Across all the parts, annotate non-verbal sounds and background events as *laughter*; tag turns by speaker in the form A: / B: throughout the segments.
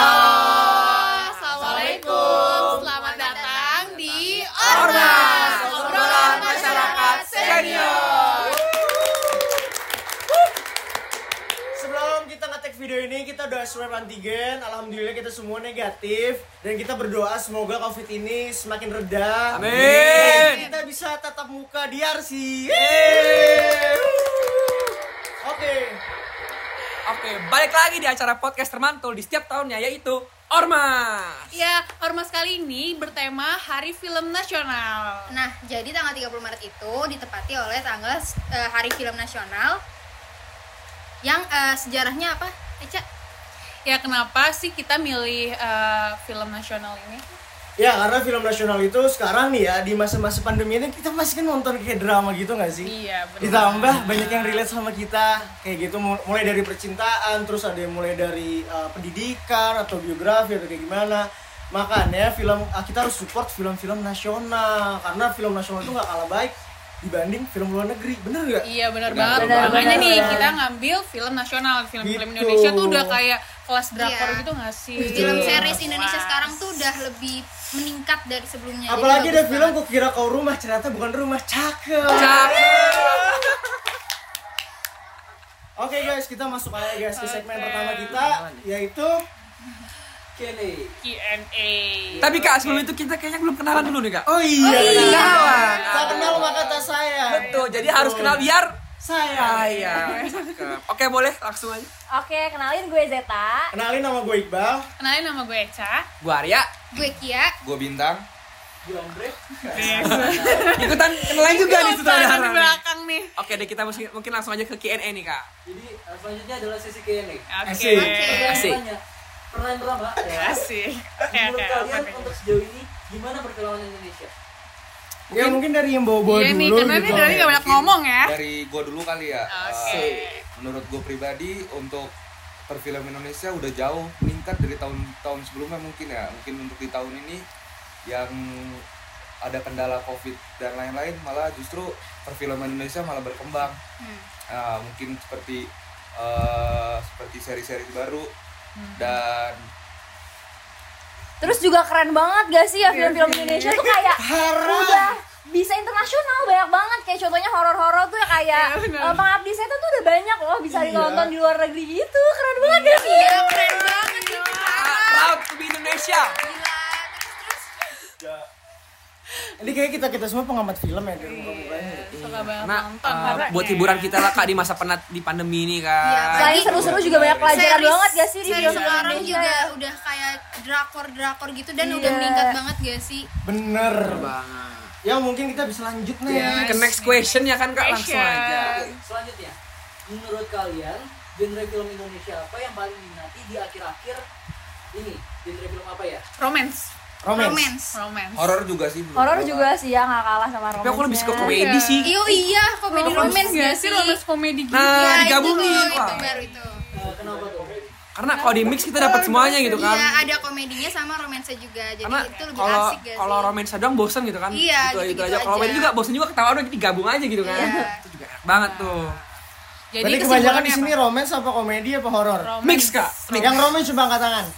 A: Halo.
B: Assalamualaikum. Selamat datang di
A: Ormas,
B: Ormas,
A: obrolan masyarakat senior. Sebelum kita ngetek video ini, kita udah swab antigen. Alhamdulillah kita semua negatif dan kita berdoa semoga COVID ini semakin reda.
C: Amin.
A: Dan Kita bisa tatap muka di RC.
C: Eh.
A: Oke.
C: Oke, balik lagi di acara podcast termantul di setiap tahunnya yaitu Ormas.
B: Ya, Ormas kali ini bertema Hari Film Nasional.
D: Nah, jadi tanggal 30 Maret itu ditepati oleh tanggal eh, Hari Film Nasional yang eh, sejarahnya apa? Eh, Eca?
B: Ya, kenapa sih kita milih eh, film nasional ini?
A: Ya karena film nasional itu sekarang nih ya di masa-masa pandemi ini kita masih kan nonton kayak drama gitu nggak sih?
B: Iya, benar.
A: Ditambah banyak yang relate sama kita kayak gitu mul- mulai dari percintaan terus ada yang mulai dari uh, pendidikan atau biografi atau kayak gimana. Makanya film ah, kita harus support film-film nasional karena film nasional itu nggak kalah baik dibanding film luar negeri bener nggak?
B: Iya, benar banget.
D: benar,
B: Makanya
D: benar,
B: nih
A: benar.
B: kita ngambil film nasional, film-film
A: Gitu.
B: Indonesia tuh udah kayak kelas drakor
D: Iya.
B: gitu nggak sih?
D: Film series Indonesia
B: Wah.
D: sekarang tuh udah lebih meningkat dari sebelumnya. Jadi
A: Apalagi ada
D: bagus
A: film
D: banget.
A: kukira kau rumah ternyata bukan rumah cakep. Oke guys kita masuk aja guys ke segmen
B: Oke.
A: pertama kita yaitu
B: Q&A.
C: Tapi Kak, sebelum itu kita kayaknya belum kenalan dulu nih, Kak.
A: Oh iya.
C: Kenalan.
A: Tak kenal maka tak sayang.
C: Betul, Ah, iya. jadi harus kenal biar
A: Sayang.
C: saya. Oke, boleh langsung aja.
E: Oke, kenalin gue Zeta.
A: Kenalin nama gue Iqbal.
B: Kenalin nama gue Eca.
C: Gua Arya,
D: Gue Kia.
F: gue bintang
C: ikutan kenalan juga nih
B: Ada di
C: sutradara.
B: belakang nih.
C: Oke deh, kita mesti- mungkin langsung aja ke Q&A nih, Kak.
G: Jadi eh, selanjutnya adalah sesi Q&A.
B: Oke.
A: Asik.
D: Oke.
C: Asik.
G: Tanya, Pertanyaan pertama ya.
B: Asik. Oke,
G: Menurut
B: oke. apa
G: kalian
B: nih?
G: untuk sejauh ini gimana perfilman Indonesia?
A: Ya mungkin dari yang bawa-bawa
B: Iya
A: dulu
B: nih, karena ini
A: gitu.
B: dari gak banyak ngomong ya.
F: dari gue dulu kali ya
B: Oke.
F: Eh, menurut gue pribadi untuk perfilm Indonesia udah jauh meningkat dari tahun-tahun sebelumnya mungkin ya mungkin untuk di tahun ini yang ada kendala covid dan lain-lain malah justru perfilman Indonesia malah berkembang
B: Hmm.
F: Nah, mungkin seperti eh, seperti seri-seri baru
B: Hmm.
F: dan
E: Terus juga keren banget gak sih ya film-film Indonesia tuh kayak udah bisa internasional banyak banget kayak contohnya horor-horor tuh ya kayak
B: Iya, benar.
E: eh, Pengabdi Setan tuh udah banyak loh bisa ditonton di luar negeri gitu keren banget ya sih
B: Iya, keren banget nih.
C: Proud to be Indonesia.
D: Gila. Terus
A: Ini kayak kita kita semua pengamat film ya dari muka-mukanya.
B: Suka banget
C: Karena
B: nonton.
C: eh,
B: karena-
C: buat hiburan kita lah Kak di masa penat di pandemi ini, Kak.
E: selain seru-seru juga banyak pelajaran
D: Series-
E: banget gak sih di
D: series
E: film
D: sekarang
E: Indonesia
D: juga
E: ya?
D: udah kayak drakor-drakor gitu dan
E: Iya.
D: udah meningkat banget gak sih?
A: Bener.
C: Banget.
A: Ya mungkin kita bisa lanjut nih.
C: Ke next question ya kan Kak langsung aja.
B: Question.
G: Oke, Selanjutnya, menurut kalian genre film Indonesia apa yang paling diminati di akhir-akhir ini? Genre film apa ya?
B: Romance.
A: Romance.
D: Romance.
B: Romance.
F: horor juga sih menurut
E: Horor
F: gua,
E: juga
F: Kak.
E: sih ya gak kalah sama romance
C: Tapi aku lebih suka komedi sih.
D: Iyo iya, komedi romance
B: nggak
D: gak sih?
B: Romance komedi gitu.
C: Nah,
D: Iya, itu
C: digabungin,
D: tuh, itu
C: Pak.
D: baru itu.
G: Eh, kenapa tuh?
C: Karena kalau di mix kita dapat semuanya gitu kan.
D: Iya, ada komedinya sama romansa juga. Jadi
C: Karena
D: itu lebih
C: kalau
D: asik gak
C: kalau
D: sih?
C: romansa doang bosen gitu kan.
D: Iya,
C: gitu,
D: gitu-gitu
C: aja. Kalau
D: aja.
C: komedi juga bosen juga ketawa doang jadi gabung aja gitu kan. *laughs*
E: *laughs*
D: Iya.
C: Itu juga enak banget tuh.
B: Jadi
A: Berarti kebanyakan di
B: kesimpulannya
A: sini kan?
B: apa?
A: romance apa komedi apa horor?
B: Romance.
C: Mix Kak. Mix.
A: Yang romance coba angkat tangan.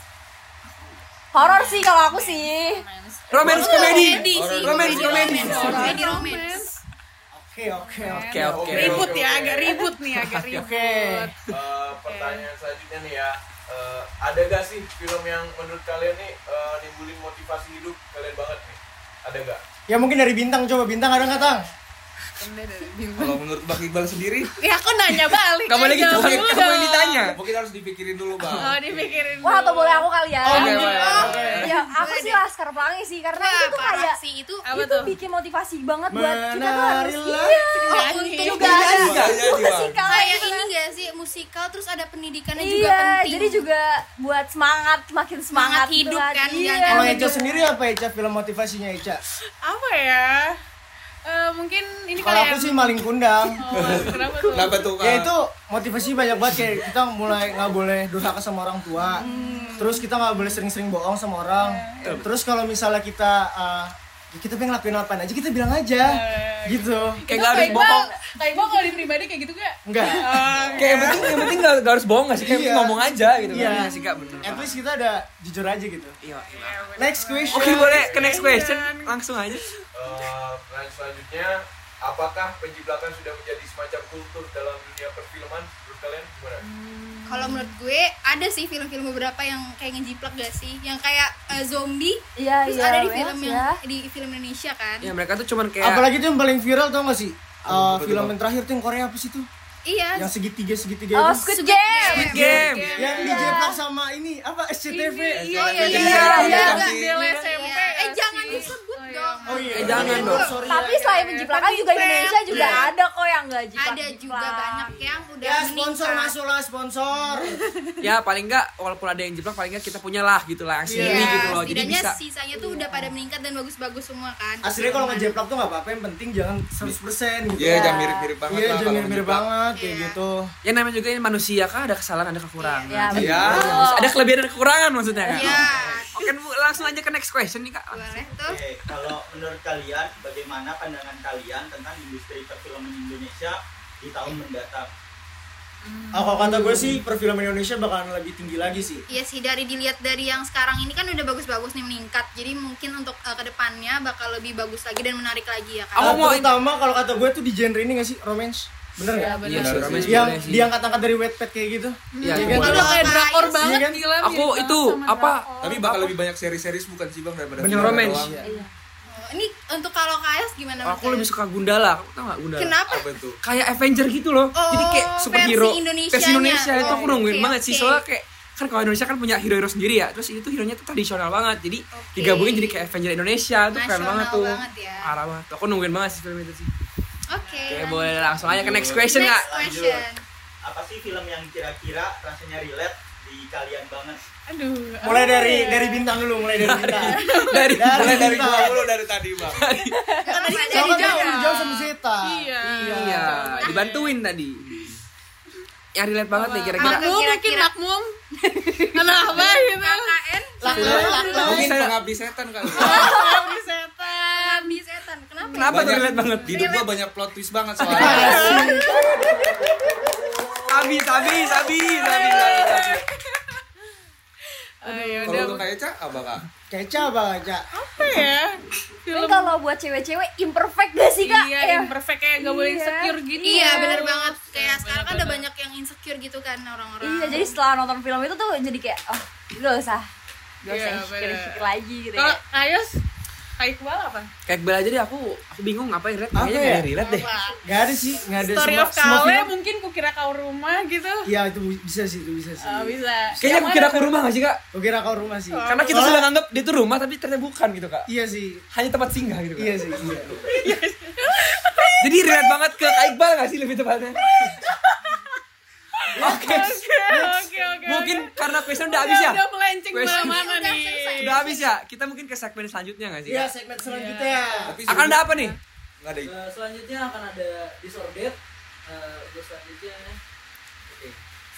E: horor sih kalau aku sih
B: Romance.
C: Romance komedi.
D: Komedi sih,
C: Romance komedi.
D: Komedi romance.
A: Oke oke oke.
C: Oke oke.
B: Ribut ya, agak ribut nih, agak ribut.
A: Oke.
H: Eh, pertanyaan selanjutnya nih ya Eh, ada gak sih film yang menurut kalian nih eh, nimbulin motivasi hidup kalian banget nih ada gak
A: Ya mungkin dari bintang coba bintang ada nggak tang?
F: kalau menurut Bang Iqbal sendiri *laughs*
B: Ya aku nanya balik.
C: Gak boleh
D: Iya,
C: gitu,
B: Jawab
C: kamu
B: dulu
C: yang
B: dong.
C: ditanya.
F: mungkin harus dipikirin dulu
B: Oh,
F: bang
B: dipikirin.
E: Wah, atau
B: dulu.
E: boleh aku kali ya?
C: Oke, boleh.
A: Oke.
E: Ya, aku sih Laskar Pelangi sih karena itu tuh kayak
D: sih itu
B: Apa
E: itu
B: tuh?
E: bikin motivasi banget buat kita tuh harus
A: Menarilah.
E: iya.
B: Nyanyi.
E: Juga Iya, ada
F: Makanya nih, Bang.
E: musikal
D: kayak
E: gitu
D: ini
E: kan.
D: gak sih musikal terus ada pendidikannya juga
E: Iya,
D: penting.
E: jadi juga buat semangat makin semangat,
D: Semangat hidup
E: gitu
D: kan,
E: Iya.
D: jangan-
A: Kalau Eca sendiri apa Eca film motivasinya Eca?
B: Apa ya? Eh, mungkin ini
A: Kalau
B: kalian
A: aku sih maling kundang.
B: Oh, kenapa tuh?
F: Kenapa tuh Kak?
A: ya itu motivasi banyak banget kayak kita mulai nggak boleh durhaka sama orang tua
E: Hmm. Iya,
A: terus kita nggak boleh sering-sering bohong sama orang terus kalau misalnya kita uh, ya kita pengen ngelakuin apa aja kita bilang aja
E: Iya,
A: gitu
C: Kayak
B: Itu
C: nggak harus
B: Kak Iqbal-
C: bohong.
B: Kak Iqbal kalau di pribadi kayak gitu gak?
A: enggak
C: Kayak yang penting yang penting nggak nggak harus bohong nggak sih? Kayak
A: Iya.
C: penting ngomong aja gitu.
A: Iya.
C: sih kak bener.
A: at least kita ada jujur aja gitu
C: Iya. iya.
A: next question
C: Oke boleh ke next question
D: Iya.
C: langsung aja.
H: Eh, pertanyaan selanjutnya, apakah penjiplakan sudah menjadi semacam kultur dalam dunia perfilman? Menurut kalian gimana?
D: Kalau menurut gue ada sih film-film beberapa yang kayak ngejiplak gak sih? Yang kayak eh, zombie.
E: Iya,
D: Terus
E: iya,
D: ada di
E: Wes,
D: film yang
E: ya.
D: di film Indonesia kan?
C: Ya mereka tuh cuman kayak
A: apalagi tuh yang paling viral tau gak sih Eh,
F: apa
A: film
F: tuh?
A: yang terakhir tuh yang Korea apa sih tuh
D: Iya.
A: yang segitiga segitiga
E: Oh,
A: itu
E: Squid Game.
C: Ya, Squid game.
A: yang dijeplak E sama ini apa SCTV
B: Iya, iya,
C: Iya,
B: iya,
C: iya,
B: iya,
C: iya.
B: Del SMP
D: Iya. Eh
B: ya
D: jangan
B: sih.
D: disebut
B: Oh, iya.
D: dong.
A: Oh iya.
C: Eh, jangan
A: Iya,
C: dong.
A: sorry ya.
E: Tapi selain menjiplakan juga Indonesia juga ada kok yang nggak jiplak.
D: iya. Ada juga banyak yang udah
A: Ya sponsor
D: meningkat.
A: masuklah sponsor.
C: ya paling nggak walaupun ada yang jeblak paling nggak kita punya lah gitu lah yang
A: Iya,
C: sendiri
D: Iya,
C: gitu loh. Jadi
D: setidaknya
C: bisa.
D: sisanya tuh udah pada meningkat dan bagus-bagus semua kan.
A: Aslinya kalau ngejeplak tuh nggak apa-apa, yang penting jangan 100% gitu.
F: Iya, jangan mirip-mirip banget
A: Iya,
F: lah
A: jangan
F: kalau
C: E
A: mirip-mirip
F: menjiplak.
A: banget kayak
D: Iya.
A: gitu.
C: Ya namanya juga ini manusia kah ada kesalahan ada kekurangan.
E: Iya, betul.
F: Iya.
C: Ada kelebihan dan kekurangan maksudnya kan?
D: Iya.
C: Oke, Bu, langsung aja ke next question nih kak.
A: Iya,
D: Boleh tuh.
I: Oke, kalau menurut kalian bagaimana pandangan kalian tentang industri perfilman Indonesia di tahun mendatang?
A: Ah, kalau kata gue sih perfilman Indonesia bakalan lebih tinggi lagi sih.
D: Iya sih dari dilihat dari yang sekarang ini kan udah bagus-bagus nih meningkat. Jadi mungkin untuk eh, kedepannya bakal lebih bagus lagi dan menarik lagi ya kan.
C: Apa
A: Ah,
C: mau-
A: terutama kalau kata gue tuh di genre ini nggak sih romance? Bener nggak?
C: Iya,
F: benar.
C: Surabaya
F: Yang
A: Yang
C: sebenarnya sih.
A: diangkat-angkat dari wetpad kayak gitu.
C: Iya, aku
A: Iya kan?
B: Itu
C: boleh.
B: udah kayak drakor
D: Iya
B: banget
A: kan?
B: gila
C: Aku
B: mirip
C: itu
B: banget sama
C: apa?
B: drakor.
F: Tapi bakal lebih banyak seri-series bukan sih bang daripada
C: Bener
F: film
C: romance.
F: doang.
D: Oh, ini untuk kalau KS gimana?
C: Aku
D: menurut
C: lebih
D: kalian?
C: suka Gundala. Kamu tau gak Gundala?
D: Kenapa?
F: Apa itu?
C: Kayak Avenger gitu loh.
D: Oh,
C: Jadi kayak
D: versi
C: superhero
D: Indonesianya.
C: versi Indonesia itu aku
D: Oh,
C: nungguin
D: oke,
C: banget sih.
D: oke.
C: Soalnya kayak kan kalau Indonesia kan punya hero-hero sendiri ya. Terus ini tuh hero-nya tuh tradisional banget. Jadi
D: Oke.
C: digabungin jadi kayak Avenger Indonesia tuh keren
D: Nasional
C: banget tuh.
D: banget ya.
C: Parah banget. Aku nungguin banget sih film itu sih.
D: Oke.
C: Oke, boleh langsung aja ke next question
D: Next
C: kak.
D: question.
I: Apa sih film yang kira-kira rasanya relate di kalian banget?
B: Aduh.
A: Mulai
B: aduh.
A: dari dari bintang dulu, mulai dari bintang.
D: *laughs*
C: Dari
F: Mulai dari gua
A: bintang.
F: dulu dari tadi *laughs* bang.
D: Karena
B: Tadi
D: tadi
B: kita di
A: Sama kan
B: Jawa.
A: yang jauh sama Zeta.
B: Iya.
C: Iya, dibantuin tadi. Yang relate banget nih kira-kira.
D: Makna-
B: Makmum mungkin
D: Kira-kira. Iya,
B: makmum. Kenapa gitu?
D: KKN
F: Mungkin pengabdi setan kali. ya.
B: Tapi setan.
D: Abdi setan. Kenapa?
C: Kenapa tuh
F: Banyak-
C: relate banget?
D: Iya.
F: Di hidup gua banyak plot twist banget soalnya.
C: Habis, habis, habis,
D: Iya.
C: habis, habis, habis.
B: Ayo
F: Kalau
B: ya udah
F: untuk kayak cak apa kak?
A: Kecap banget, Cak.
B: apa ya?
E: Tapi kalau buat cewek-cewek imperfect gak sih kak?
B: Iya,
E: Ya.
B: imperfect kayak gak boleh
E: Iya.
B: insecure gini.
D: Iya
B: ya.
D: bener banget. Kayak sekarang kan udah
B: bener.
D: banyak yang insecure gitu kan orang-orang.
E: Iya, jadi setelah nonton film itu tuh jadi kayak oh gak usah gak usah
B: Iya,
E: pikir-pikir
B: bener.
E: lagi gitu ya.
B: Kalau Kayos, Kak Iqbal apa?
C: Kayak Bella aja deh aku aku bingung apa yang relate.
A: Apa
C: Kayaknya nggak
A: ya?
C: ada yang relate deh.
A: Gak ada sih, gak ada
B: Story
A: semua-
B: of
A: semua
B: Kale
A: film-
B: mungkin kukira kau rumah gitu.
A: Iya, itu bisa sih, itu bisa sih.
B: Oh, bisa. Oh.
C: Kayaknya
B: Yang
C: aku kira
B: mana
C: aku
B: tuh?
C: rumah gak sih kak?
A: Gue kira kau rumah sih.
C: Karena kita sudah
A: Soalnya-
C: nganggap dia tuh rumah tapi ternyata bukan gitu kak.
A: Iya sih.
C: Hanya tempat singgah gitu kak.
A: Iya sih, iya.
C: Jadi relate banget ke Kak Iqbal gak sih lebih tepatnya?
B: *laughs*
C: Oke,
B: Oke, oke.
C: mungkin
B: oke.
C: karena question udah
B: udah,
C: habis ya?
B: udah melenceng
C: Question.
B: kemana-mana nih.
C: Udah habis ya? Kita mungkin ke segmen selanjutnya gak sih kak?
A: Iya, segmen selanjutnya. ya.
F: Tapi
C: Akan ada apa nih?
F: Nggak ada.
G: Eh, selanjutnya akan ada disordered Eh, terus selanjutnya oke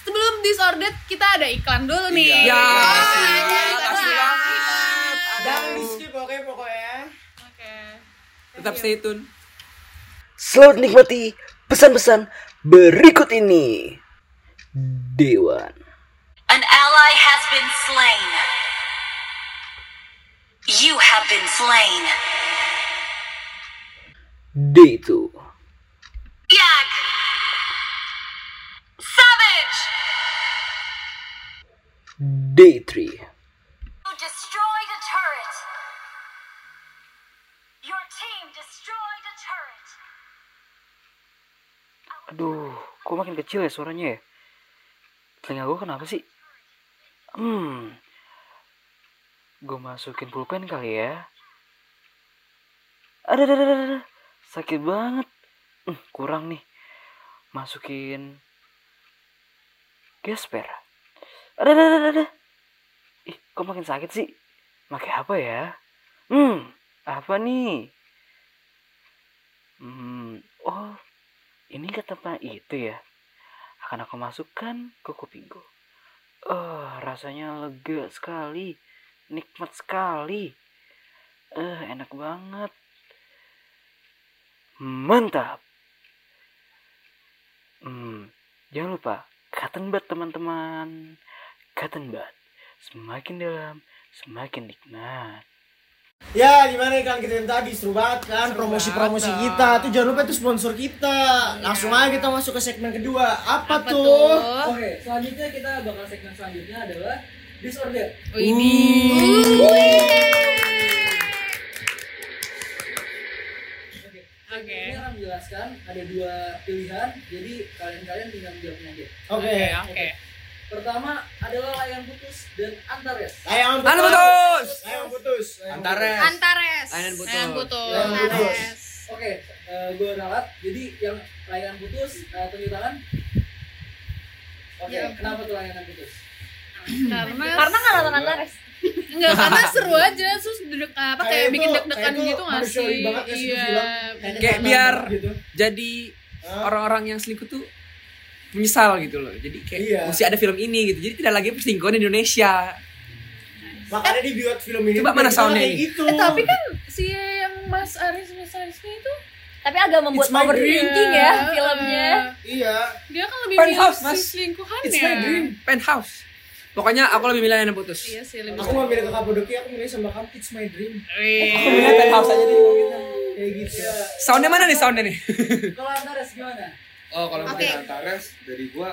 B: Sebelum disordered, kita ada iklan dulu nih.
C: Ya,
B: iya,
C: makasih
B: iya.
C: banget.
A: Jangan di skip oke pokoknya.
B: Oke. Iya.
C: Tetap stay tune.
J: Selamat nikmati pesan-pesan berikut ini. Dewan.
K: An ally has been slain. You have been slain.
J: D itu.
K: Yak! Savage!
J: D3.
K: You destroyed a turret. Your team destroyed a turret.
J: Aduh, kok makin kecil ya suaranya ya? Telinga gue kenapa sih? Hmm. Gue masukin pulpen kali ya. Ada, ada, ada, ada. Sakit banget. Hmm, kurang nih. Masukin gesper. Ada, ada, ada, ada. Ih, kok makin sakit sih? Pakai apa ya? Hmm, apa nih? Hmm, oh, ini ke tempat itu ya akan aku masukkan ke Eh, kupingku oh rasanya lega sekali nikmat sekali Eh, enak banget. Mantap. Hmm, jangan lupa cotton bud teman-teman. Cotton bud. Semakin dalam, semakin nikmat.
A: Ya gimana kan kita yang tadi seru banget kan promosi-promosi kita tuh jangan lupa itu sponsor kita langsung aja kita masuk ke segmen kedua apa, tuh?
C: ya.
G: Oke, selanjutnya kita bakal segmen selanjutnya adalah disorder.
A: Ini
B: Iya.
G: Oke. Ini akan menjelaskan ada dua pilihan, jadi kalian-kalian tinggal menjawabnya aja.
A: Oke.
B: Oke.
G: Pertama adalah layang putus dan Antares.
A: Layangan putus.
C: Layangan putus.
A: Layangan putus.
C: Antares.
D: Antares.
C: Layangan putus.
B: Layangan putus.
G: Layangan
A: putus.
G: putus. Oke, eh, gue ralat. Jadi yang layangan putus, eh, tunjuk tangan. Oke,
B: Ya.
G: kenapa tuh layangan putus?
B: Karena
E: Karena nggak nonton kan? Antares.
B: Enggak, karena seru aja terus duduk apa kayak,
A: Kayak
B: bikin
A: itu-
B: deg-degan
A: kayak itu
B: gitu nggak
A: manusiawi
B: sih?
A: banget ya,
B: Iya.
A: sebelum film.
C: Kayak biar
A: Gitu.
C: jadi orang-orang yang selingkuh tuh menyesal gitu loh. Jadi kayak
A: Iya.
C: mesti ada film ini gitu. Jadi tidak lagi perselingkuhan di Indonesia.
A: Makanya dibuat film ini.
C: Coba
A: biar
C: mana
A: kita
C: soundnya
A: kayak
C: ini?
A: Gitu.
B: Eh, tapi kan si yang Mas Aris Mas Arisnya itu
E: Tapi agak membuat
A: It's my
E: overthinking ya
B: eh,
E: filmnya.
A: Iya.
B: Dia kan lebih milih
C: Penthouse,
B: si
C: Mas.
B: selingkuhan
C: It's
B: ya.
C: my dream. Penthouse. Pokoknya aku lebih milih yang putus.
B: Iya sih lebih.
A: Aku nggak milih ke Kapodoki, aku milih sama kamu. It's my dream.
C: Aku milih penthouse aja deh. kalau gitu.
A: Kayak gitu.
B: Iya.
C: Soundnya mana nih soundnya nih?
G: Kalau Antares gimana?
C: Oh kalau
D: Oke.
F: Mungkin Antares dari gua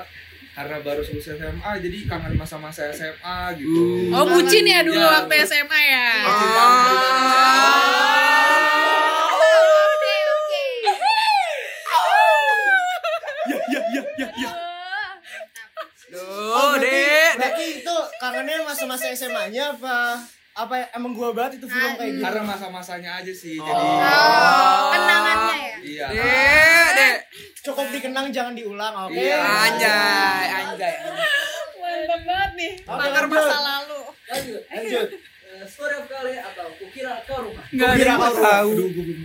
F: karena baru lulus SMA jadi kangen masa-masa SMA gitu.
B: Oh bucin ya dulu
F: Iya.
B: waktu SMA ya.
C: Iya.
D: Oke, oke.
C: Duh,
A: Oh, berarti-
C: Oh, dek.
A: Berarti itu kangennya masa-masa SMA-nya apa? Apa emang gua banget itu film kayak gitu?
F: Karena masa-masanya aja sih jadi
D: Oh, kenangannya ya.
F: iya.
C: Dek, dek.
A: Cukup dikenang jangan diulang, oke?
F: Iya.
C: Anjay, anjay.
B: Mantap banget nih.
A: Oke,
B: Bakar
A: lanjut.
B: masa lalu.
G: Lanjut.
A: Lanjut.
G: Eh, story of Kale atau Kukira Kau Rumah.
C: Enggak
A: Kukira kau rumah.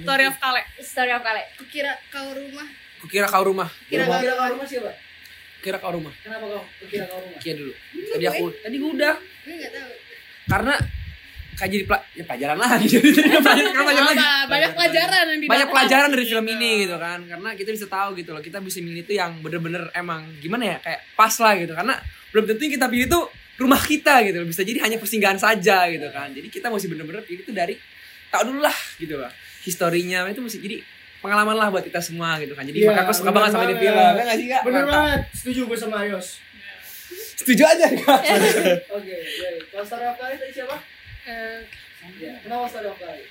B: Story of Kale.
E: Story of Kale.
D: Kira kau rumah.
C: Kukira kau rumah.
G: Kukira Kau Rumah siapa?
C: Kukira kau rumah.
G: Kenapa kau Kukira Kau Rumah?
C: Kia dulu. Tadi aku tadi gua udah
D: Ini enggak tahu.
C: karena kayak jadi pela- ya, pelajaran lagi. *laughs* Jadi jadi pelajaran karena pelajaran lagi.
B: Apa, banyak pelajaran yang didapat.
C: Banyak pelajaran dari film ini gitu kan. Karena kita bisa tahu gitu loh. Kita bisa milih tuh yang bener-bener emang gimana ya kayak pas lah gitu. Karena belum tentu yang kita pilih tuh rumah kita gitu loh. Bisa jadi hanya persinggahan saja gitu kan. Jadi kita mesti bener-bener pilih tuh dari tahu dulu lah gitu loh. Historinya itu mesti jadi pengalaman lah buat kita semua gitu kan. Jadi
A: Iya,
C: makanya aku suka
A: bener
C: banget sama ini
A: banget.
C: film. Ya nggak sih, Kak?
A: Bener
C: Mantap.
A: banget, setuju gue sama Ayos.
C: Setuju aja Kak.
G: Oke, baik. Kalau story of Kale tadi siapa?
B: Eh,
G: Ya, kenapa story of Kale?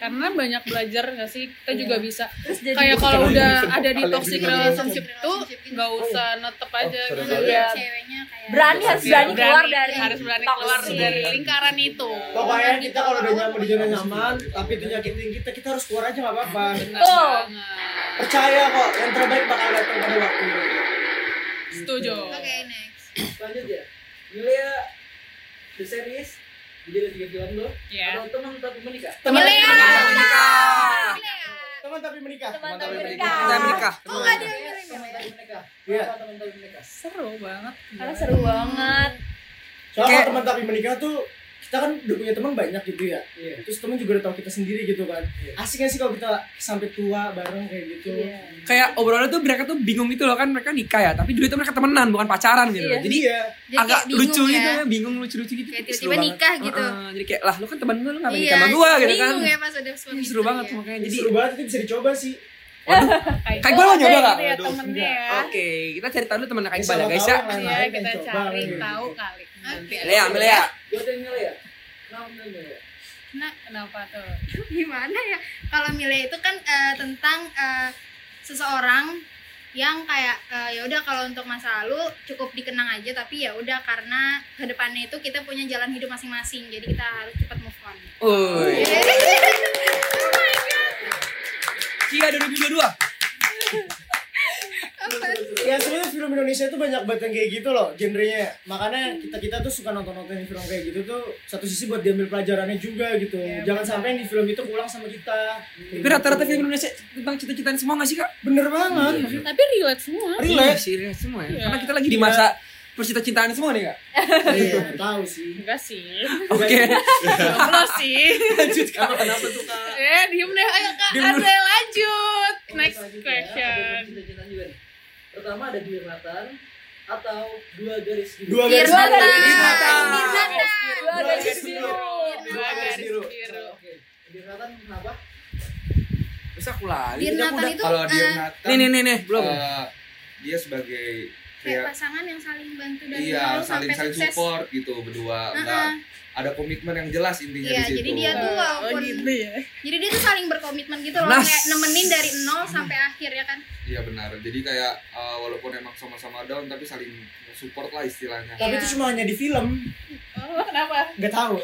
B: karena banyak belajar nggak sih kita juga bisa
E: Iya. Terus jadi
B: kayak kalau udah ada di
F: Kalian
B: toxic
F: juga.
B: relationship itu
D: Relationship itu.
B: nggak usah netep
F: Oh, sorry,
B: aja gitu.
F: sorry.
E: Iya.
D: Ceweknya kayak
E: berani harus berani keluar dari
B: harus Iya, berani keluar
E: toxic. gitu.
B: dari lingkaran itu.
A: Pokoknya kita kalau udah nyaman di zona nyaman, tapi itu nyakitin kita, kita harus keluar aja gak apa-apa.
B: Benar
E: Betul.
B: banget.
A: Percaya kok, yang terbaik bakal datang pada waktunya.
B: Setuju.
D: Oke, next.
G: Lanjut ya. Milea The Series. Jadi ada tiga film tuh.
B: Ya.
G: Atau teman tapi menikah.
A: Teman
B: Iya.
C: Menikah.
A: Teman tapi menikah.
E: Teman tapi
C: Kita
E: menikah.
C: menikah.
D: Oh, enggak ada
C: Nah.
D: yang
G: Yes, teman tapi menikah.
A: Iya.
G: Kenapa teman tapi menikah?
B: Seru banget.
E: Karena seru banget.
A: Soalnya
C: Kayak-
A: kalau teman tapi menikah tuh kita kan udah punya teman banyak gitu ya.
G: Iya.
A: Terus teman juga udah tahu kita sendiri gitu kan.
G: Iya.
A: Asik gak sih kalau kita sampai tua bareng kayak gitu.
E: Iya.
C: kayak obrolannya tuh mereka tuh bingung gitu loh kan mereka nikah ya tapi dulu itu mereka temenan bukan pacaran gitu loh.
A: Jadi
C: jadi
A: ya,
D: Dia
C: agak
D: kayak bingung
C: lucu
D: ya.
C: gitu ya bingung lucu-lucu gitu
D: Kayak
C: Seru
D: tiba-tiba
C: banget.
D: nikah gitu.
C: Heeh, jadi kayak lah lu kan temen gue lu ngapain
D: Iya,
C: nikah sama gua gitu kan
D: bingung ya pas udah suami
C: Ini seru
D: istri
C: banget
D: ya.
C: makanya
A: jadi
C: jadi
A: seru banget itu bisa dicoba sih.
C: Kayak gua lo nyoba nggak?
B: Gitu ya, temennya ya.
C: oke kita cari tahu dulu temen kayak
A: Siapa
C: gimana guys
A: tahu
C: ya
A: yang lain-lain
B: Iya,
A: pengen
B: kita
A: coba
B: cari
A: gitu.
B: tahu kali. Nanti.
C: Milea Milea
G: Gue tuh Milea. ya? Kenapa ya? tuh Milea?
B: Nah, kenapa tuh?
D: *laughs* gimana ya kalau milih itu kan eh, tentang eh, seseorang yang kayak eh, ya udah kalau untuk masa lalu cukup dikenang aja tapi ya udah karena kedepannya itu kita punya jalan hidup masing-masing jadi kita harus cepat move on
C: Uy. Kia 2022
A: Ya sebenarnya film Indonesia tuh banyak banget yang kayak gitu loh genrenya. Makanya kita kita tuh suka nonton nonton film kayak gitu tuh satu sisi buat diambil pelajarannya juga gitu.
E: Iya,
A: Jangan sampai yang di film itu pulang sama kita.
C: tapi rata-rata film Indonesia tentang cita-citaan semua gak sih kak
A: bener banget.
G: Iya,
B: Tapi relate semua.
A: Relate.
C: Iya sih relate semua ya
B: Iya.
C: karena kita lagi di masa percinta-cintaan semua nih kak?
A: Iya, tahu sih.
B: Enggak sih.
C: Oke.
B: Belum sih.
C: Lanjut kak.
A: Kenapa tuh kak?
B: *laughs* Eh, diem deh. Ayo kak,
C: Diem
B: ada
C: dulu.
B: yang lanjut. Next
G: Selanjutnya, ada dua
B: question.
G: cinta-cintaan juga nih. Pertama ada duir matan atau dua garis gitu. biru.
A: Dua
B: garis
A: Dua
B: mata.
A: garis mata.
E: Dua
A: Dua
E: garis
A: garis
E: biru.
B: Dua garis biru.
G: Oke. Duir matan kenapa?
C: Bisa aku lagi.
D: Dear
C: udah, aku
D: Nathan
C: udah.
D: itu
F: Kalau dia
D: eh,
F: Nathan,
C: Nih nih nih nih belum.
F: eh, dia sebagai
D: kayak
F: kayak
D: pasangan yang saling bantu dan
F: iya
D: menolong
F: saling
D: sampai
F: saling
D: sukses.
F: support gitu berdua.
D: Heeh.
F: Enggak ada komitmen yang jelas intinya
D: Iya,
F: di situ.
D: jadi dia tuh walaupun
B: Eh, ya.
D: jadi dia tuh saling berkomitmen gitu loh,
C: Nas.
D: kayak nemenin dari nol sampai akhir ya kan.
F: Iya benar. Jadi kayak eh, walaupun emang sama-sama down tapi saling support lah istilahnya.
A: Tapi itu cuma hanya di film.
B: Oh, kenapa? Eh,
A: Nggak tahu.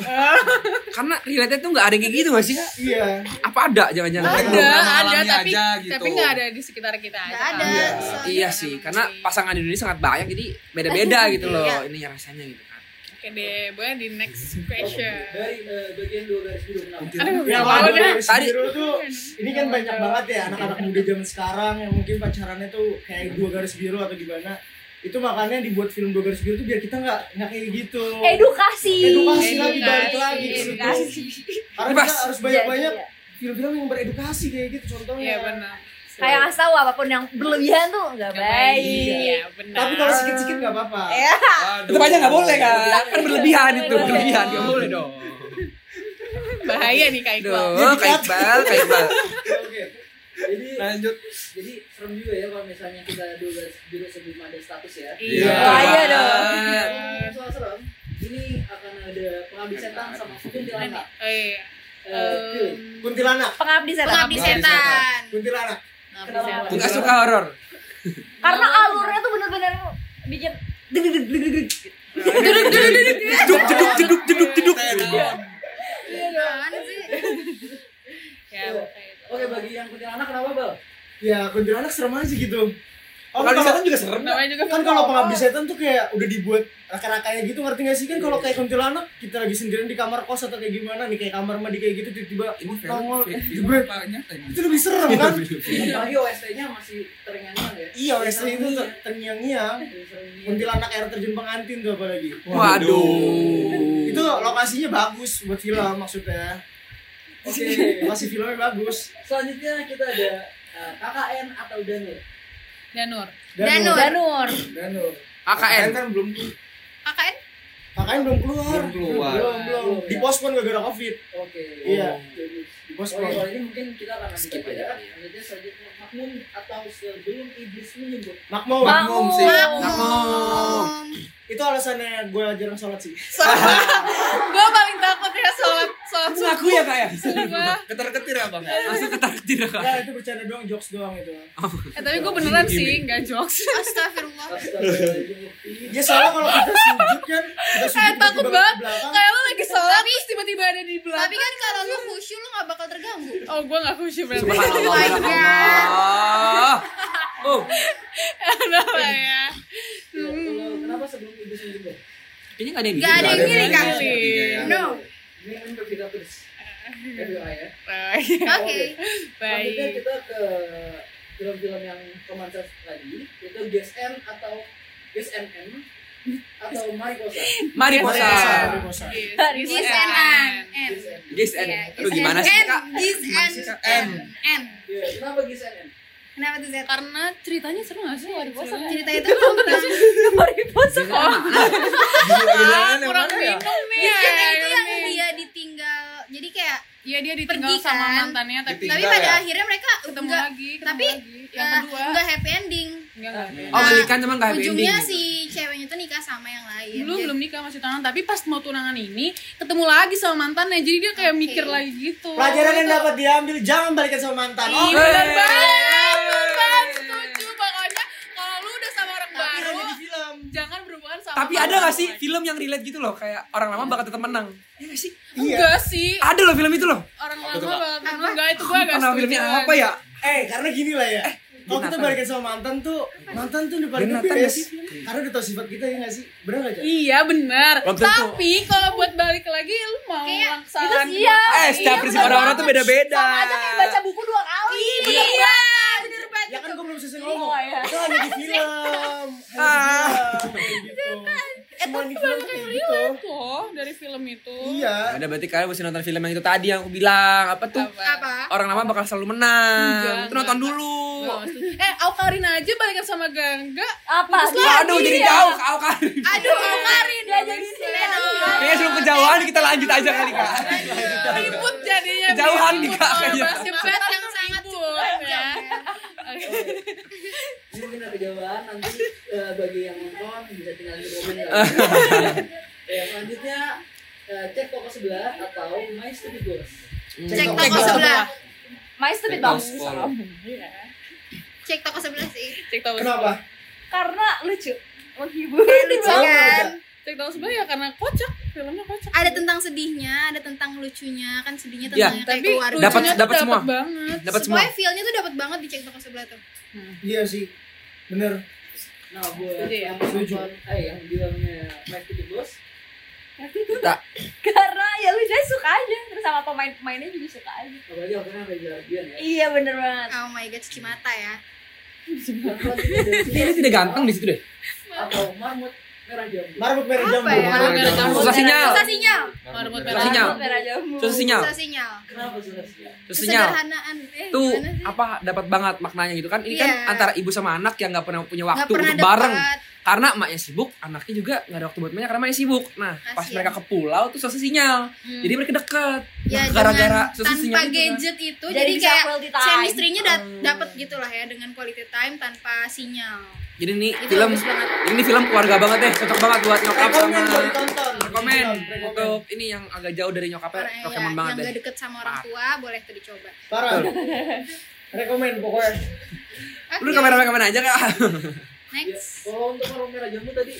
C: Karena relate tuh nggak ada yang kayak gitu nggak sih kak?
A: Iya.
C: Apa ada jangan-jangan?
F: Ada.
B: Ada, ada,
F: mengalami
B: tapi
F: aja gitu.
B: tapi nggak ada di sekitar kita aja.
D: Nggak
B: Kak.
D: ada.
F: Iya.
D: soalnya
C: Iya
D: kan
C: sih,
D: emang
C: karena
B: sih.
C: pasangan di Indonesia sangat banyak jadi *laughs* beda-beda gitu loh
D: Iya.
C: ininya rasanya gitu kan.
B: Oke deh, boleh di next question.
G: Dari eh, bagian dua garis biru kenapa?
B: Aduh,
C: Ya,
A: Yang
B: mau
A: lalu
B: dah. Iya.
A: garis
C: Tadi-
A: biru tuh ini kan banyak banget ya anak-anak muda zaman sekarang yang mungkin pacarannya tuh kayak dua garis biru atau gimana. Itu makanya dibuat film dua garis biru tuh biar kita nggak nggak kayak gitu.
E: Edukasi.
A: Edukasi lagi balik
B: Edukasi,
A: lagi ke situ.
E: edukasi.
A: Karena
C: Bebas.
A: kita harus banyak-banyak
E: Jadi,
A: film-film yang beredukasi kayak gitu contohnya.
B: Iya benar.
E: Kayak ngasih tahu apapun yang berlebihan tuh nggak baik.
B: Iya benar.
A: Tapi kalau sedikit-sedikit nggak apa-apa.
B: Iya.
D: Iya.
F: Aduh.
C: Tetap aja nggak boleh kan? Kan berlebihan itu
E: Boleh.
C: berlebihan nggak boleh dong.
B: bahaya nih kayak gue.
C: Duh, kayak Iqbal, kayak Iqbal.
G: Oke. Jadi
F: Lanjut.
G: jadi serem juga ya kalau misalnya kita dua garis biru sebelum ada status ya.
B: Iya. Eh,
E: Bahaya dong.
G: Ngomongin soal serem, ini akan ada pengabdi setan sama kuntilanak.
B: Oh, iya.
G: Eh, pilih.
A: Kuntilanak.
E: Pengabdi setan.
D: Pengabdi setan.
A: Kuntilanak.
G: Kenapa?
C: Nggak suka horor.
E: Karena alurnya tuh bener-bener bikin deg deg deg deg deg.
C: Jeduk, jeduk, jeduk, jeduk, jeduk. Iya.
D: Gimana sih?
B: Ya, kayak itu.
G: Oke, bagi yang kuntilanak kenapa, Bal?
A: Ya kuntilanak serem aja gitu. Oh,
C: Pengabdi
A: kalau-
C: setan juga serem.
B: Namanya juga
A: kan kalau pengabdi setan tuh kayak udah dibuat raka-rakanya gitu ngerti gak sih kan kalau kayak kuntilanak kita lagi sendirian di kamar kos atau kayak gimana nih kayak kamar mandi kayak gitu tiba-tiba
F: Ini film,
A: nongol
F: film,
C: gitu.
A: eh,
F: film
A: gue
F: apa nyata ini?
A: itu lebih serem
C: *laughs*
A: kan
G: Apalagi OST-nya masih teringat ya. Iya,
A: iya wes itu tuh terngiang-ngiang
G: Kuntilanak.
A: kuntilanak air terjun pengantin tuh apalagi
C: Waduh.
A: itu lokasinya bagus buat film maksudnya
G: Oke.
A: masih filmnya bagus
G: Selanjutnya kita ada eh, KKN atau Daniel.
B: Danur.
D: Danur.
E: Danur.
A: Danur
C: AKN.
F: kan belum
D: KKN
A: makanya belum keluar
F: Belum keluar.
A: belum belum
G: Belum, ya.
A: dipospon gara-gara covid
G: Oke.
A: Iya.
G: Jadi, Oh,
A: dipospon
G: iya, kalau ini mungkin kita akan ambil
C: Skip
G: aja
C: aja.
G: kan. Selanjutnya selanjutnya makmum atau sebelum iblis menyebut.
A: makmum
F: Makmum sih.
C: Makmum.
A: itu alasannya gue jarang sholat sih
B: gue paling takut ya sholat sholat
C: Aku
B: subuh.
C: ngaku ya kak ya.
B: Sumpah.
F: ketar-ketir abang.
C: Langsung ketar-ketir ya, kak.
A: Ya itu bercanda doang, jokes doang itu.
B: Eh, tapi gue beneran sih nggak jokes.
D: Astagfirullah.
G: Astagfirullahaladzim.
A: Ya soalnya kalau kita sujud kan, kita sujud
B: Eh, takut
A: tiba-tiba
B: banget.
A: ke belakang.
B: Kayak lo lagi sholat terus tiba-tiba ada di belakang.
D: Tapi kan kalau lu khusyuk lu gak bakal terganggu.
B: Oh, gue nggak khusyuk berarti.
C: Subhanallah. iya. subhanallah. Oh,
B: Kenapa ya?
G: Iya, kalau- Kenapa sebelum iblis menyebut?
C: kayaknya nggak ada yang
D: Gak ada yang
C: gitu.
D: ngiri kan?
F: No.
B: Iya.
D: No.
G: Ini kan berbeda terus. FBI ya.
B: Baik.
D: Oke.
G: Selanjutnya
B: Baik.
G: kita ke film-film yang romansa lagi, itu Guess N atau Guess NM atau Mariposa.
C: Mari puasa.
A: Mari puasa.
D: Gis and an. N.
C: Guys, N.
D: Iya,
C: Aduh,
D: Gis
C: gimana
D: and
C: sih
D: N.
C: kak?
D: Gis and N. N.
G: Iya, kenapa Guess NM?
D: Kenapa tuh Z?
B: Karena ceritanya seru nggak sih? Wari Bosa?
D: Cerita itu tentang
B: *laughs* Ah, kurang
D: ya?
B: minum nih.
D: Gis and N itu Iya,
B: ya,
D: yang
B: ini.
D: dia ditinggal. Jadi kayak
B: Iya dia ditinggal
D: Pergi
B: sama
D: kan?
B: mantannya tapi
D: tapi
F: Tinggal
D: pada
F: ya?
D: akhirnya mereka
B: ketemu
D: nggak-
B: lagi, ketemu
D: tapi eh,
B: lagi. yang kedua
D: nggak happy ending.
B: enggak enggak ada.
C: Oh, belikan cuman nggak happy
D: Nah, Ujungnya
C: ending.
D: si ceweknya tuh nikah sama yang lain.
B: belum
D: Jadi-
B: belum nikah masih tunangan tapi pas mau tunangan ini ketemu lagi sama mantannya jadi dia kayak mikir lagi gitu
A: Pelajaran yang dapat diambil jangan balikan sama mantan. Oh,
B: Iya, bener banget bener banget Kan, setuju makanya kalau lu udah sama orang
A: Tapi
B: baru
A: hanya di film.
B: jangan berhubungan sama
C: Tapi
B: orang
C: ada gak
B: lama.
C: sih film yang relate gitu loh Kayak orang lama bakal tetap menang Iya gak sih?
B: enggak sih
C: Ada loh film itu loh
B: orang lama
F: tuh, Kak?
B: banget enggak itu gua agak
C: Karena filmnya apa ya?
A: Eh, karena gini lah ya. Kalau kita
C: binatang.
A: balikan sama mantan tuh, mantan tuh udah paling
C: Binatang
A: gede ya
C: gak sih?
A: sih. Karena udah tau sifat kita ya gak sih? Bener gak, Cak?
B: iya benar
C: Waktu itu-
B: tapi kalau buat balik lagi lu mau
D: Kayak,
B: langsaran
E: itu iya.
C: Eh setiap prinsip orang-orang tuh beda-beda
E: Sama aja kayak baca buku dua kali.
B: iya bener banget
A: Ya kan gue belum selesai ngomong.
E: Oh, iya.
B: Iya.
A: Itu hanya di film. Hanya di
C: Ah.
A: film, kayak gitu.
E: gitu.
A: Iya.
C: Udah berarti kalian mesti nonton film yang itu tadi yang aku bilang apa tuh?
D: Apa?
C: Orang lama bakal selalu menang.
B: Enggak,
C: Itu nonton dulu.
B: eh Aukarin aja balikan sama Gangga Iya.
E: apa
B: Bagus lagi
C: Aduh jadi
E: Iya.
B: ya.
C: jauh ke Aukarin.
B: aduh Aukarin
E: Dia jadi ya. sinetron.
C: Kayaknya sebelum kejauhan kita lanjut aja kali kak.
B: ribut jadinya
C: Kejauhan nih, Kak, kayaknya.
B: debat
C: kan
B: yang sangat ribut
C: Iya.
B: ya
G: Ini mungkin ada jawaban nanti eh, bagi yang nonton bisa tinggal di komen
C: *laughs*
G: ya. Ya, selanjutnya eh, cek toko sebelah atau my stupid boss.
D: Cek toko sebelah.
E: My stupid
G: Toko
E: boss.
G: sekolah.
D: Cek toko sebelah sih.
B: cek tahu
A: Kenapa?
E: Karena lucu. Menghibur.
D: Lucu kan?
B: cek tahu sebelah ya karena kocak filmnya kocak
D: Ada tentang sedihnya, ada tentang lucunya, kan sedihnya
C: Ya,
D: tentang yang kayak
B: tapi
D: keluarga.
C: Dapat
B: lucunya tuh
C: dapat semua.
B: banget
C: Dapat semua.
D: Pokoknya feel-nya tuh dapat banget di cek toko sebelah tuh.
A: Iya sih. Bener.
G: Nah, buat
B: Setuju ya?
G: yang
A: Setuju.
G: nonton, eh yang bilangnya my stupid boss,
C: Kita
E: *laughs* Karena ya lu dia suka aja. Terus sama pemain-pemainnya juga suka aja.
G: apalagi akhirnya ada jelasan ya.
E: Iya bener banget.
D: Oh my god, Cimata ya.
G: Selanjutnya dari
C: ini tidak ganteng di situ deh.
G: atau marmut merah jambu.
A: Marbut merah jambu.
D: Apa ya?
B: Gara-gara kamu.
C: Susah sinyal.
D: Susah sinyal.
B: Marmut
C: Susah sinyal.
E: Rambut merah jambu.
C: Iya. Susah sinyal.
D: Susah sinyal.
G: Kenapa jelasnya?
C: Susah sinyal.
D: Kesederhanaan. Eh,
C: Tuh
D: gimana sih?
C: apa dapat banget maknanya gitu kan? Ini kan
D: Iya.
C: antara ibu sama anak yang nggak pernah punya
D: Nggak
C: waktu
D: pernah
C: untuk bareng.
D: dapat.
C: Karena emaknya sibuk, anaknya juga nggak ada waktu buat mainnya karena emaknya sibuk. Nah, pas
D: Kasian.
C: mereka ke pulau tuh susah sinyal.
D: Hmm.
C: Jadi mereka deket.
D: ya,
C: Nah, gara-gara
D: dengan
C: susah
D: tanpa
C: sinyal itu Hmm. kan.
D: gadget itu
E: Jadi
D: jadi,
E: bisa
D: kayak
E: quality time.
D: chemistry-nya dat- dapet gitu lah ya dengan quality time tanpa sinyal.
C: Jadi nih
D: Itu
C: film
D: bagus banget.
C: ini film keluarga banget deh, cocok banget buat nyokap sama
A: Rekomen buat ditonton.
C: rekomen
A: Rekomen.
C: untuk ini yang agak jauh dari nyokapnya
D: Orang ya,
C: Pokemon banget
D: yang
C: deh.
D: gak deket sama orang tua boleh tuh dicoba.
A: Parah. Rekomen pokoknya.
C: Lu
D: Oke,
C: kamera-kamera aja kak. *laughs*
G: Ya,
D: Next.
G: kalau untuk marmut merah jambu tadi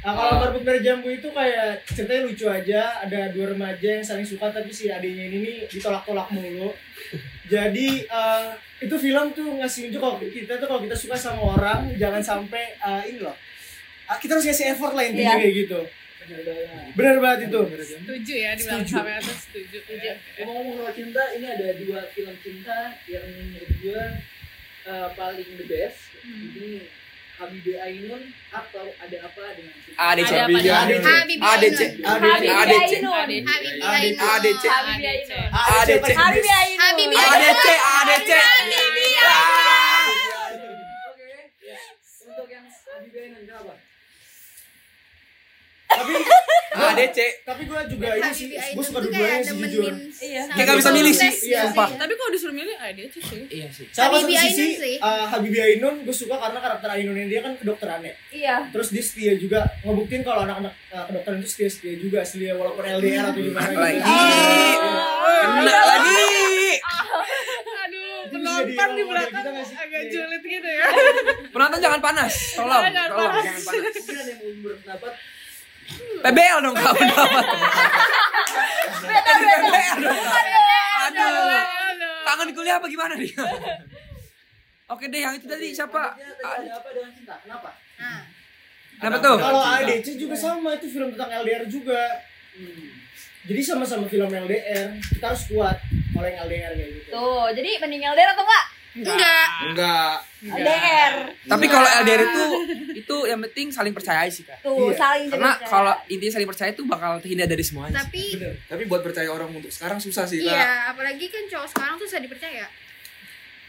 A: Nah, kalau Marbut merah jambu itu kayak ceritanya lucu aja. Ada dua remaja yang saling suka tapi si adiknya ini nih ditolak-tolak mulu. Jadi eh, itu film tuh ngasih unjuk kalau kita tuh kalau kita suka sama orang jangan sampai eh, ini loh. Ah, Kita harus ngasih effort lah intinya
E: Iya.
A: kayak gitu. Bener banget itu.
B: setuju ya dibilang
A: Setuju.
B: sama itu setuju Iya. Oke, oke.
G: Ngomong-ngomong soal cinta, ini ada dua film cinta yang menurut gue uh, paling the best.
A: Hmm.
G: Ini Habibie Ainun atau Ada Apa dengan Cinta.
C: ADC.
B: Ada apa nih?
C: Iya.
A: ADC.
D: Habibie
C: ADC.
D: Ainun.
E: Habibie
C: ADC. ADC.
E: Ainun.
D: Habibie Ainun.
A: ADC.
C: ADC.
E: Habibie Ainun. Habibie
B: Nah,
A: Iya.
E: Ainun.
D: Habibie Ainun.
C: ADC. ADC. iya.
G: Oke, ya. Untuk yang Habibie Ainun kenapa?
A: Tapi Nah,
C: ADC.
A: tapi gue juga Iya, ini sih,
D: Habibie
A: gue
D: Ainun
A: suka
D: tuh
A: dua-duanya
D: kayak
A: sih ya, jujur.
D: nemenin.
E: Iya.
D: sama
C: Kayak nggak bisa milih sih,
D: proses
A: iya,
D: gitu
A: sumpah.
D: ya.
B: tapi kalau disuruh milih ah, dia sih
C: Iya sih.
A: Sama satu
D: Habibie Ainun
A: sisi,
D: sih.
A: eh, Habibie Ainun gue suka karena karakter Ainunnya dia kan kedokterannya.
E: Iya.
A: terus dia setia juga ngebuktiin kalau anak-anak uh, kedokteran itu setia setia juga setia walaupun LDR atau gimana gitu.
C: Lagi.
E: iya.
C: Kena lagi.
B: aduh
A: Itu bisa
B: penonton
A: jadi
B: di
A: model
B: belakang
A: kita nggak sih?
B: agak
A: Iya.
B: julid gitu ya
C: Penonton jangan panas. Tolong.
B: Jangan
C: Tolong
B: panas.
C: jangan panas.
G: Mungkin ada yang mau berpendapat.
C: PBL dong kak pendapat. PBL dong. Kak. Aduh. Kangen kuliah apa gimana nih? Oke deh yang itu tadi siapa?
G: Selanjutnya tadi Ada Apa dengan Cinta? Kenapa?
D: Nah,
C: Kenapa tuh?
A: kalau ADC juga sama itu film tentang LDR juga
G: Hmm.
A: jadi sama-sama film LDR kita harus kuat kalau yang LDR kayak gitu
E: Tuh, jadi mending LDR atau enggak?
D: enggak.
F: Enggak.
C: Iya.
E: LDR.
C: Tapi kalau LDR itu itu yang penting saling percaya sih kak.
E: Tuh,
A: Iya.
E: saling
C: Karena
E: cerita.
C: kalau intinya saling percaya itu bakal terhindar dari semuanya. sih.
D: Tapi
A: bener
F: Tapi buat percaya orang untuk sekarang susah sih kak.
D: iya, apalagi kan cowok sekarang tuh susah dipercaya.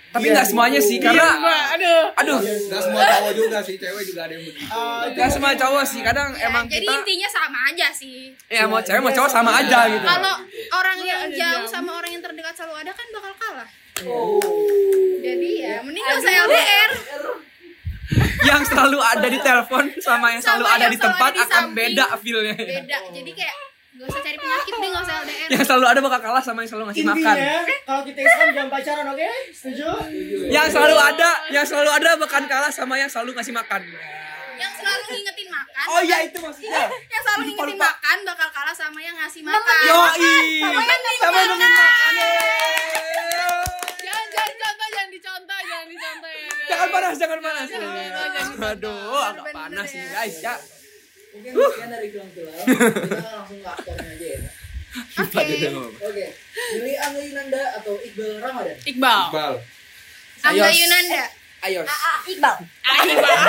C: Tapi
A: Iya,
C: nggak semuanya
A: gitu.
C: sih karena
B: Mbak, aduh
C: aduh
F: Gak semua cowok juga sih, cewek juga ada yang begitu.
D: Oh.
A: Ah, itu
C: nggak semua cowok sih kadang
D: Ya,
C: emang
D: jadi
C: kita
D: intinya sama aja sih.
C: ya mau cewek mau cowok sama aja gitu.
D: Kalau orang yang
B: ada
D: jauh
B: jauh.
D: sama orang yang terdekat selalu ada kan bakal kalah.
G: Oh.
D: Jadi ya mending gak usah LDR.
C: Yang selalu ada di telepon sama yang selalu
D: Sama
C: ada
D: yang
C: di
D: selalu
C: tempat
D: ada di
C: akan
D: samping.
C: beda feelnya. ya.
D: Beda. Jadi kayak gak usah cari penyakit deh gak usah LDR.
C: Yang selalu ada bakal kalah sama yang selalu ngasih makan.
A: intinya kalau kita Islam jangan pacaran oke setuju
C: Yang selalu ada, yang selalu ada bakal kalah sama yang selalu ngasih makan.
D: Yang selalu ngingetin makan.
C: Oh iya itu maksudnya.
D: Yang selalu
C: Lupa,
D: ngingetin
C: lupa.
D: makan bakal kalah sama yang ngasih makan.
C: Yoi.
D: Sama yang ngasih
C: Sama yang
D: makan.
C: makan.
B: jangan jangan contoh jangan dicontoh jangan dicontoh ya
C: Jangan panas, jangan panas. Aduh, agak
D: Bener-bener
C: panas
D: ya.
C: nih guys ya.
G: Mungkin sekian dari film-film. Kita
A: Nah,
G: langsung ke aktornya aja ya.
D: Oke.
G: Oke, Lili Angeli Nanda atau Iqbal Ramadan?
B: Iqbal
F: Iqbal.
D: Angga
C: Ayos.
D: Yunanda.
C: Ayo.
E: Ah, Iqbal.
A: *laughs*
B: Ah, Iqbal
D: ah,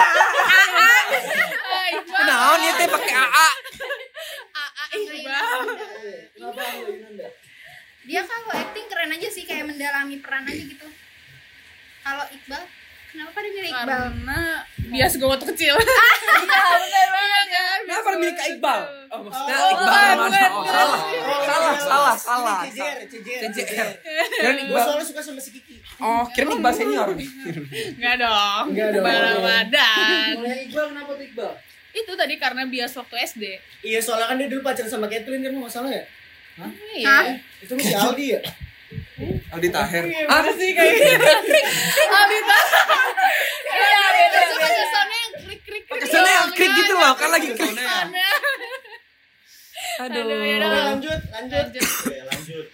C: nah, Kenaon ya teh pakai AA.
D: AA
B: ih, bang.
G: Kenapa Angga Yunanda?
D: Dia kalau acting keren aja sih kayak mendalami peran aja gitu. Kalau Iqbal, kenapa pada milih Iqbal?
B: Karena bias gue waktu kecil.
D: Iya, benar banget ya.
C: Kenapa milih Kak Iqbal? Oh, maksudnya
B: Oh,
C: Iqbal
B: bukan,
C: Ramadhan.
B: bukan,
C: Oh,
B: bukan.
C: salah.
A: Bukan.
C: Salah, salah, salah.
A: Ini CJR, CJR.
C: CJR. Dan
A: Gue
C: Iqbal.
A: soalnya suka sama si Kiki.
C: Oh, kira Iqbal senior.
B: Enggak dong.
G: Nggak dong.
B: Iqbal Ramadan.
G: Kalau yang Iqbal kenapa tuh Iqbal?
B: Itu tadi karena bias waktu SD.
A: Iya, soalnya kan dia dulu pacaran sama Caitlyn kan nggak salah ya?
B: Iya.
A: Itu si Aldi ya?
F: Aldi Taher.
C: Apa sih kayak
B: Alita. Oh, gitu. Iya,
D: beda,
B: Terus kan kesannya yang Iya, krik-krik.
C: Kesannya yang krik gitu loh, kan lagi krik.
B: Aduh.
C: Aduh.
B: yaudah.
A: Oke, lanjut, lanjut.
B: Lanjut.
I: Oke, lanjut.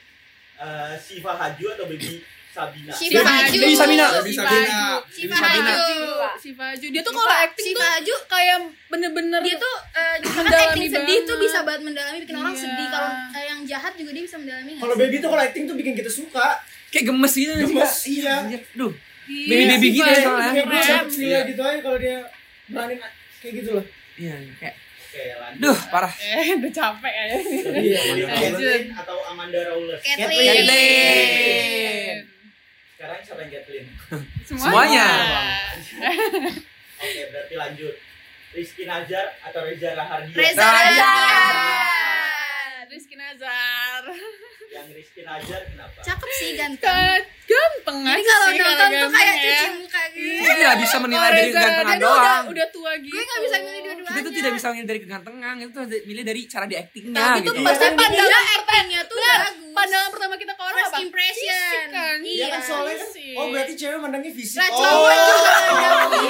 I: Eh, Siva Haju atau Baby Sabina?
D: Siva Haju.
C: Dewi Samina.
F: Dewi
B: Siva
F: Samina.
B: Haju.
D: Siva
C: Sabina.
D: Haju.
B: Siva Haju. Dia tuh kalau acting
D: Siva
B: tuh
D: Haju
B: kayak bener-bener
D: dia tuh eh, kan
B: Mendalami
D: acting sedih tuh
B: banget.
D: bisa banget mendalami bikin orang
B: Iya.
D: sedih kalau eh, yang jahat juga dia bisa mendalami nggak
A: Kalau
D: sih?
A: baby tuh kalau acting tuh bikin kita suka.
C: Kayak gemes gitu nggak sih,
A: Gemes,
C: Kak?
A: iya.
C: Anjir, Duh.
B: Iya,
C: Baby-baby
B: Siva
C: gitu ya,
B: Haju.
C: soalnya.
A: Kayak gue
B: Keren.
A: gila gitu aja kalau dia berani kayak gitu loh.
C: Iya, kayak
I: Oke, lanjut.
C: duh, parah.
B: Eh, udah capek kayaknya.
A: Iya.
I: William
B: Lanjut.
I: Caitlyn atau Amanda Rowler?
B: Iya.
D: Caitlyn.
C: Caitlyn.
I: Sekarang siapa yang Caitlyn?
C: Semuanya.
I: Oke, berarti lanjut. Rizky Nazar atau Reza Rahardian?
D: Reza
C: Nah,
D: Radian.
B: Rizky Nazar.
I: Yang Rizky Nazar kenapa?
D: cakep sih ganteng
B: Kan Ganteng aja
D: jadi kalau
B: sih,
D: nonton tuh
B: ganteng
D: kayak
B: ya.
D: cuci muka gitu
C: Kita tidak Iya, bisa menilai dari
B: Reza,
C: kegantengan
B: dia tuh
C: doang.
B: Udah, udah tua gitu.
D: gue nggak bisa milih dua-duanya
C: Kita tuh tidak bisa menilai dari kegantengan, itu tuh milih dari cara di actingnya
B: Tapi
C: gitu.
B: tuh pasti
A: Kan
B: pandangan
D: actingnya tuh bagus
B: pandangan pertama kita ke orang
D: First
B: apa?
D: impression.
B: Fisik kan.
A: Iya
D: Iya
A: kan soalnya kan.
B: sih.
A: Oh berarti cewek mandangnya fisik.
D: Lah,
A: Oh. iya.
D: cowok juga ada
A: *laughs*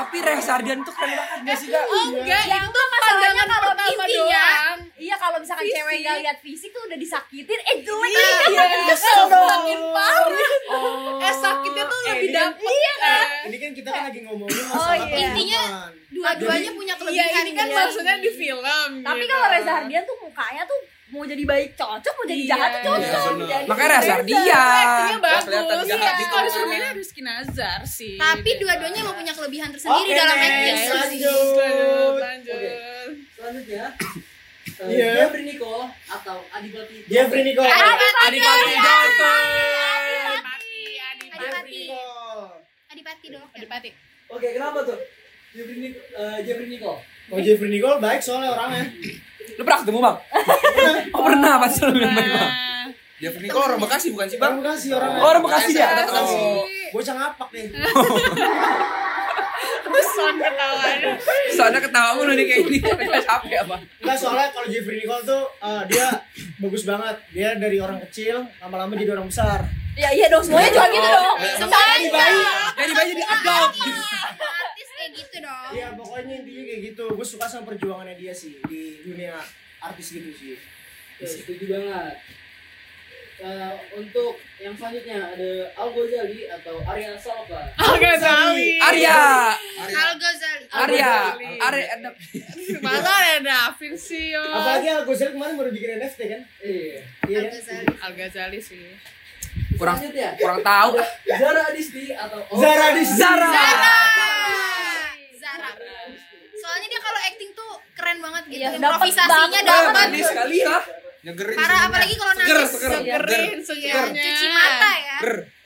C: Tapi Rezardian tuh keren banget gak sih, Kak?
B: Oh enggak,
A: Iya.
E: Ya,
B: itu pandangan
E: kalau
B: pertama
E: intinya-
B: doang.
E: Iya kalau misalkan
B: Fisik.
E: cewek nggak lihat fisik tuh udah disakitin, eh jelek
B: Iya.
E: Kesel dong. Makin parah.
B: Oh. Eh sakitnya tuh
A: Eh,
B: lebih
A: ini kan-
B: dapat. Iya kan?
A: Ini kan kita kan lagi ngomongin masalah
E: iya.
D: Intinya,
A: perempuan.
D: dua-duanya punya
B: Iya,
D: kelebihan
B: ini kan
D: gitu.
B: maksudnya di film.
E: Tapi
B: gitu.
E: kalau Reza Hardian tuh mukanya tuh mau jadi baik cocok, mau jadi
B: Iya.
E: jahat tuh
F: Iya,
E: cocok.
F: bener.
E: Jadi
C: Makanya
E: Reza.
C: Iya. Rezardian.
B: Aktingnya
F: Nggak
B: bagus.
F: kelihatan jahat
B: Iya,
F: gitu.
B: kalau disuruh milih harus Kinazar sih. gitu. Eh,
D: tapi dua-duanya mau punya kelebihan tersendiri
A: Oke,
D: dalam
A: next.
D: acting
A: Lanjut.
B: Lanjut, lanjut.
G: Oke. Selanjutnya eh,
A: Iya.
G: Jeffrey Nicole atau Adipati
A: Jeffrey Nicole.
C: Adipati Dolken.
B: Adipati, Adipati.
D: Adipati.
A: Nicole.
D: adipati dong
B: Adipati.
G: Oke kenapa tuh? Jeffrey Nicole, eh, Jeffrey Nicole.
A: Oh Jeffrey Nicole baik soalnya orangnya.
C: Lu pernah ketemu, Bang? Oh, pernah pas lu bilang tadi, Bang.
B: Nah,
F: Dia Nicole orang Bekasi bukan sih,
A: Terima
F: Bang?
A: kasih orangnya.
C: Oh, orang Bekasi ya?
A: Orang Bekasi.
F: Oh.
A: Bocah ngapak nih.
B: Son ketawanya.
C: Soalnya ketawa mulu nih kayak *laughs* gini. Kita capek apa?
A: Enggak soalnya kalau Jeffrey Nicole tuh eh, dia bagus banget. Dia dari orang kecil lama-lama jadi orang besar.
E: Ya iya dong semuanya juga gitu dong. Semuanya
A: Jadi baik.
C: Dari bayi jadi adult.
D: artis kayak gitu dong
A: Iya pokoknya intinya kayak gitu. Gue suka sama perjuangannya dia sih di dunia artis gitu sih.
G: Oke, Setuju banget. Eh, untuk yang selanjutnya ada Al Ghazali atau Arya Saloka.
B: Oke, Sali.
C: Arya.
D: Al Ghazali
C: Arya. Arya. Ada-
B: Masa ada Davin sih, yo.
A: Apalagi Al Ghazali kemarin baru bikin NFT kan?
G: Iya.
A: Iya
D: Al
A: kan?
D: Ghazali
B: Al Ghazali sih.
C: Kurang
G: Selanjutnya
C: kurang tahu.
G: ada Zara Adisti atau Oka.
A: Zara Adisti.
C: Zara.
D: Zara soalnya dia kalau acting tuh keren banget gitu
E: Iya, dapet
D: improvisasinya
E: banget.
C: Wah,
D: dapat
C: manis sekali ya.
F: Nyegerin.
D: parah apalagi kalau
F: Seger,
D: nangis
F: seger.
B: Segerin,
D: Iya,
B: segernya.
D: cuci mata ya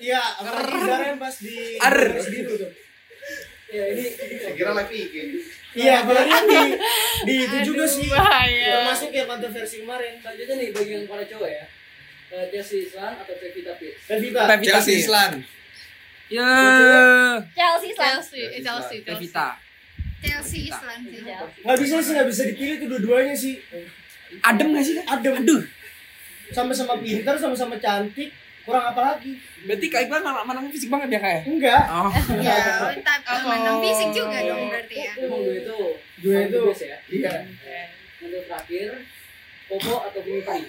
A: Iya, apalagi Zara yang pas di
C: Ar.
A: Kompas biru gitu tuh.
G: Ya ini ini kok.
I: Kira live IG.
A: Iya, apalagi di di itu
B: Aduh, iya.
A: juga sih.
B: bahaya.
A: Termasuk yang ya, kontroversi kemarin.
G: selanjutnya nih bagi yang para cowok ya. Eh, Chelsea Islan atau Pevita Pierce.
A: Pevita.
C: Pevita
F: Chelsea
C: sih.
F: Islan.
C: Ya.
E: Chelsea Islam.
B: Chelsea, eh, Chelsea, Chelsea.
C: Pevita.
D: Chelsea Islan sih
E: Iya.
A: Gak bisa sih, gak bisa dipilih tuh dua-duanya sih.
C: Adem gak sih? Kak?
A: Adem.
C: Aduh.
A: Sama-sama pintar, sama-sama cantik. Kurang apa lagi?
C: Berarti Kak Iqbal malah menang fisik banget ya Kak ya?
A: Enggak.
C: Oh.
D: ya tapi menang fisik juga dong berarti ya
G: Memang dua itu
A: Dua
G: paling
A: itu.
G: the best ya.
A: Iya.
G: Untuk terakhir Popo atau Bumi Peri.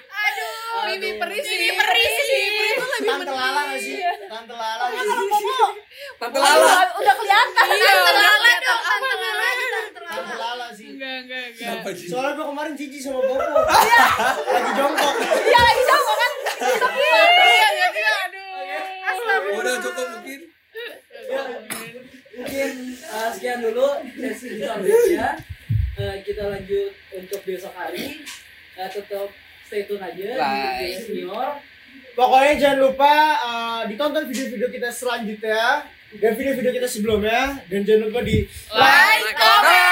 B: Aduh, Mimi Peri Oh, sih. Iya.
D: Mimi Peri sih.
B: Mimi Peri tuh lebih
A: Tante Lala gak sih? Tante Lala gak sih?
C: Tante
E: Aduh,
C: Lala.
E: Iya, udah kelihatan.
B: Iya.
D: Tante Lala dong, Tante Lala, Tante
A: Tante
D: Lala.
A: Lala sih.
B: Enggak, enggak, enggak.
F: Kenapa sih?
A: Soalnya gue kemarin jijik sama Bobo. Lagi jongkok.
E: Iya lagi sama kan.
B: Iya, iya, iya, aduh.
F: Udah cukup mungkin.
G: Mungkin eh, sekian dulu sesi kita berikutnya. eh, kita lanjut untuk besok hari Eh, tetap stay tune aja di
A: Bye.
G: Gaya senior
A: Pokoknya jangan lupa eh, ditonton video-video kita selanjutnya dan video-video kita sebelumnya dan jangan lupa di
G: Like, comment,